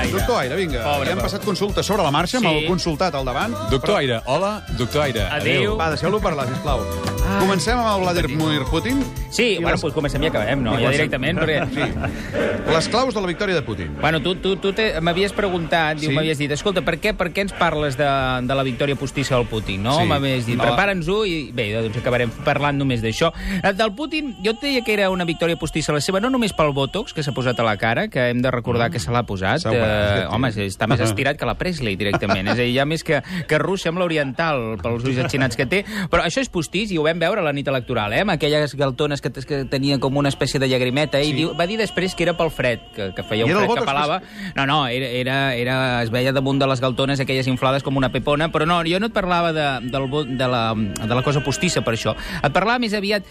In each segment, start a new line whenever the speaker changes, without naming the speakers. Aire.
Doctor Aire,
Pobre,
vinga. ja han
pobre.
passat consultes sobre la marxa, amb
Sí.
el consultat al davant.
Doctor Aire, hola, doctor Aire.
Adéu.
Va, deixeu-lo parlar, sisplau. Comencem amb el Vladimir Putin.
Sí, bueno, doncs comencem i acabem, no? Ja directament, perquè...
Sí. Les claus de la victòria de Putin.
Bueno, tu, tu, tu te- m'havies preguntat, diu,
Sí.
m'havies dit, escolta, per què, per què ens parles de, de la victòria postissa del Putin, no?
Sí.
M'havies dit,
No.
prepara'ns-ho i bé, doncs acabarem parlant només d'això. Eh, Del Putin, jo et deia que era una victòria postissa la seva, no només pel botox que s'ha posat a la cara, que hem de
Mm.
recordar que se l'ha posat.
S'ha guanyat,
Eh, home, està més estirat que la Presley directament. És a dir, ja més que, que rus sembla oriental pels ulls atxinats que té. Però això és postís i ho vam veure a la nit electoral, eh? Amb aquelles galtones que, que tenia com una espècie de llagrimeta. Eh?
Sí.
I diu, va dir després que era pel fred, que, que feia
I
un
era el
fred que
botox
pelava. No, no, era, era, era, es veia damunt de les galtones aquelles inflades com una pepona, però no, jo no et parlava de, del, vot- de, la, de la cosa postissa per això. Et parlava més aviat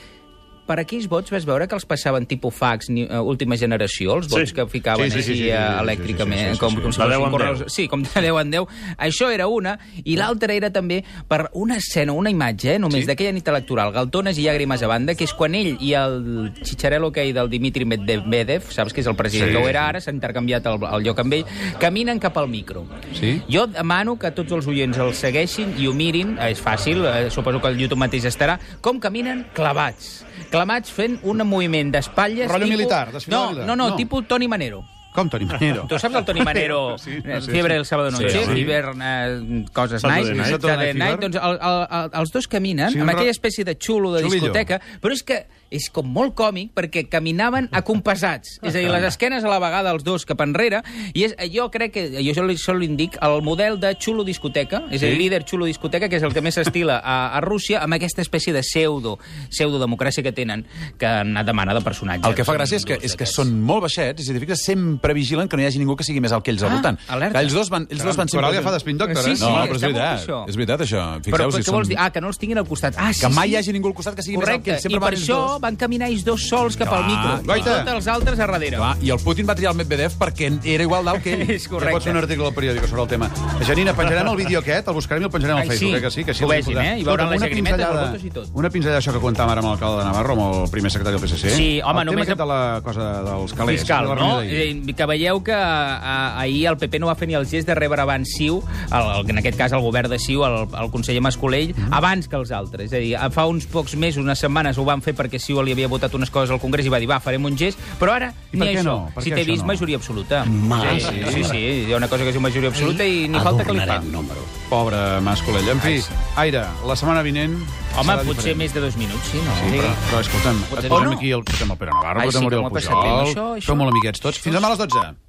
per aquells vots vas veure que els passaven tipus fax, ni, uh, última generació, els vots
Sí.
que ficaven
Sí, sí, sí,
així
sí, sí, sí, sí, sí,
eh,
sí, sí, sí,
elèctricament,
sí,
com,
sí.
com si
De deu
fossin
en deu.
correus... Sí, com de 10 en 10. Això era una, i l'altra era també per una escena, una imatge, eh, només
Sí.
sí. d'aquella nit electoral, galtones i llàgrimes a banda, que és quan ell i el xitxarel·lo que hi del Dimitri Medvedev, saps que és el president
Sí.
sí. que ho era ara, s'ha intercanviat el, el lloc amb ell, caminen cap al micro.
Sí.
Jo demano que tots els oients el segueixin i ho mirin, és fàcil, eh, suposo que el YouTube mateix estarà, com caminen clavats. Clavats fent un moviment d'espatlles...
Rotllo militar, desfile
no,
militar.
no, no,
No.
no, tipus Toni Manero.
Com, Toni Manero?
Tu saps el Toni Manero?
Sí,
sí,
no sé,
Fiebre
sí.
el sábado noche,
Sí,
sí,
home.
Fivern, eh, coses
Saturday
nice.
Night.
Saturday
Saturday Night
Night. Doncs el, el, el, els dos caminen
Sí,
sí,
un
amb
ro-
aquella espècie de xulo de
Xulillo.
discoteca, però és que és com molt còmic perquè caminaven acompassats. És a dir, les esquenes a la vegada els dos cap enrere, i és, jo crec que, jo això li, això li indic, el model de xulo discoteca, és a dir, líder xulo discoteca, que és el que més s'estila a, a Rússia, amb aquesta espècie de pseudo, pseudo-democràcia que tenen, que han anat de mano de personatges.
El que fa gràcia és que,
Dos
és que
d'aquests.
són molt baixets, i si t'hi fixes, sempre vigilen que no hi hagi ningú que sigui més alt que ells al
Ah,
voltant.
alerta.
Que ells dos van, ells dos van sempre...
Coràlia fa d'espin doctor, eh?
Sí,
No, però és
està molt bé,
veritat,
això.
és veritat, això.
Però,
Fixeu-vos,
però què
són...
vols dir? Ah, que no els tinguin al costat. Ah, sí,
Que mai
sí.
hi hagi ningú al costat que sigui més alt que
Correcte,
ells. Sempre
i per
van ells
això
dos.
van caminar ells dos sols cap al
Clar,
micro. I
guaita.
tots els altres a darrere.
Clar, I el Putin va triar el Medvedev perquè era igual d'alt que ell.
És
Ja pots fer
correcte.
un article al periòdic sobre el tema. Janina, penjarem el vídeo aquest, el buscarem i el penjarem al
Ai,
Facebook,
sí.
eh, que sí, que
Que
així
ho
els
vegin,
podrem-
eh? I veuran
Escolta'm,
les
una
llagrimetes, les
pinzellada-
botes i tot.
Una pinzellada això que comentàvem ara amb l'alcalde de Navarro, amb el primer secretari del PSC.
Sí, home,
el
només-
Tema aquest de la cosa dels calés.
fiscal,
de la
no?
reunió d'ahir.
Eh, Que veieu que a, ahir el PP no va fer ni el gest de rebre abans Siu, el, el, en aquest cas el govern de Siu, el, el conseller Mascolell, mm -hmm. abans que els altres. És a dir, fa uns pocs mesos, unes setmanes, ho van fer perquè Siu li havia votat unes coses al Congrés i va dir, va, farem un gest, però ara
I
ni
per què
això.
no? Per
si
què
t'he
això
vist,
no?
majoria absoluta.
Mare
sí,
meva.
sí, sí, hi ha una cosa que es diu majoria absoluta i ni falta que li fa.
Adornarem número.
Pobre Mascolell. En fi,
Ai, sí.
Aire, la setmana vinent...
Home,
serà
potser
diferent.
més de dos minuts, sí, no?
Sí, però, però escolta'm,
Potser
et posem
no.
aquí el, posem el Pere Navarro,
Ai,
posem
sí,
l'Oriol
com ho ha passat bé amb
Pujol,
això, això.
som molt amiguets tots. Fins demà a les 12.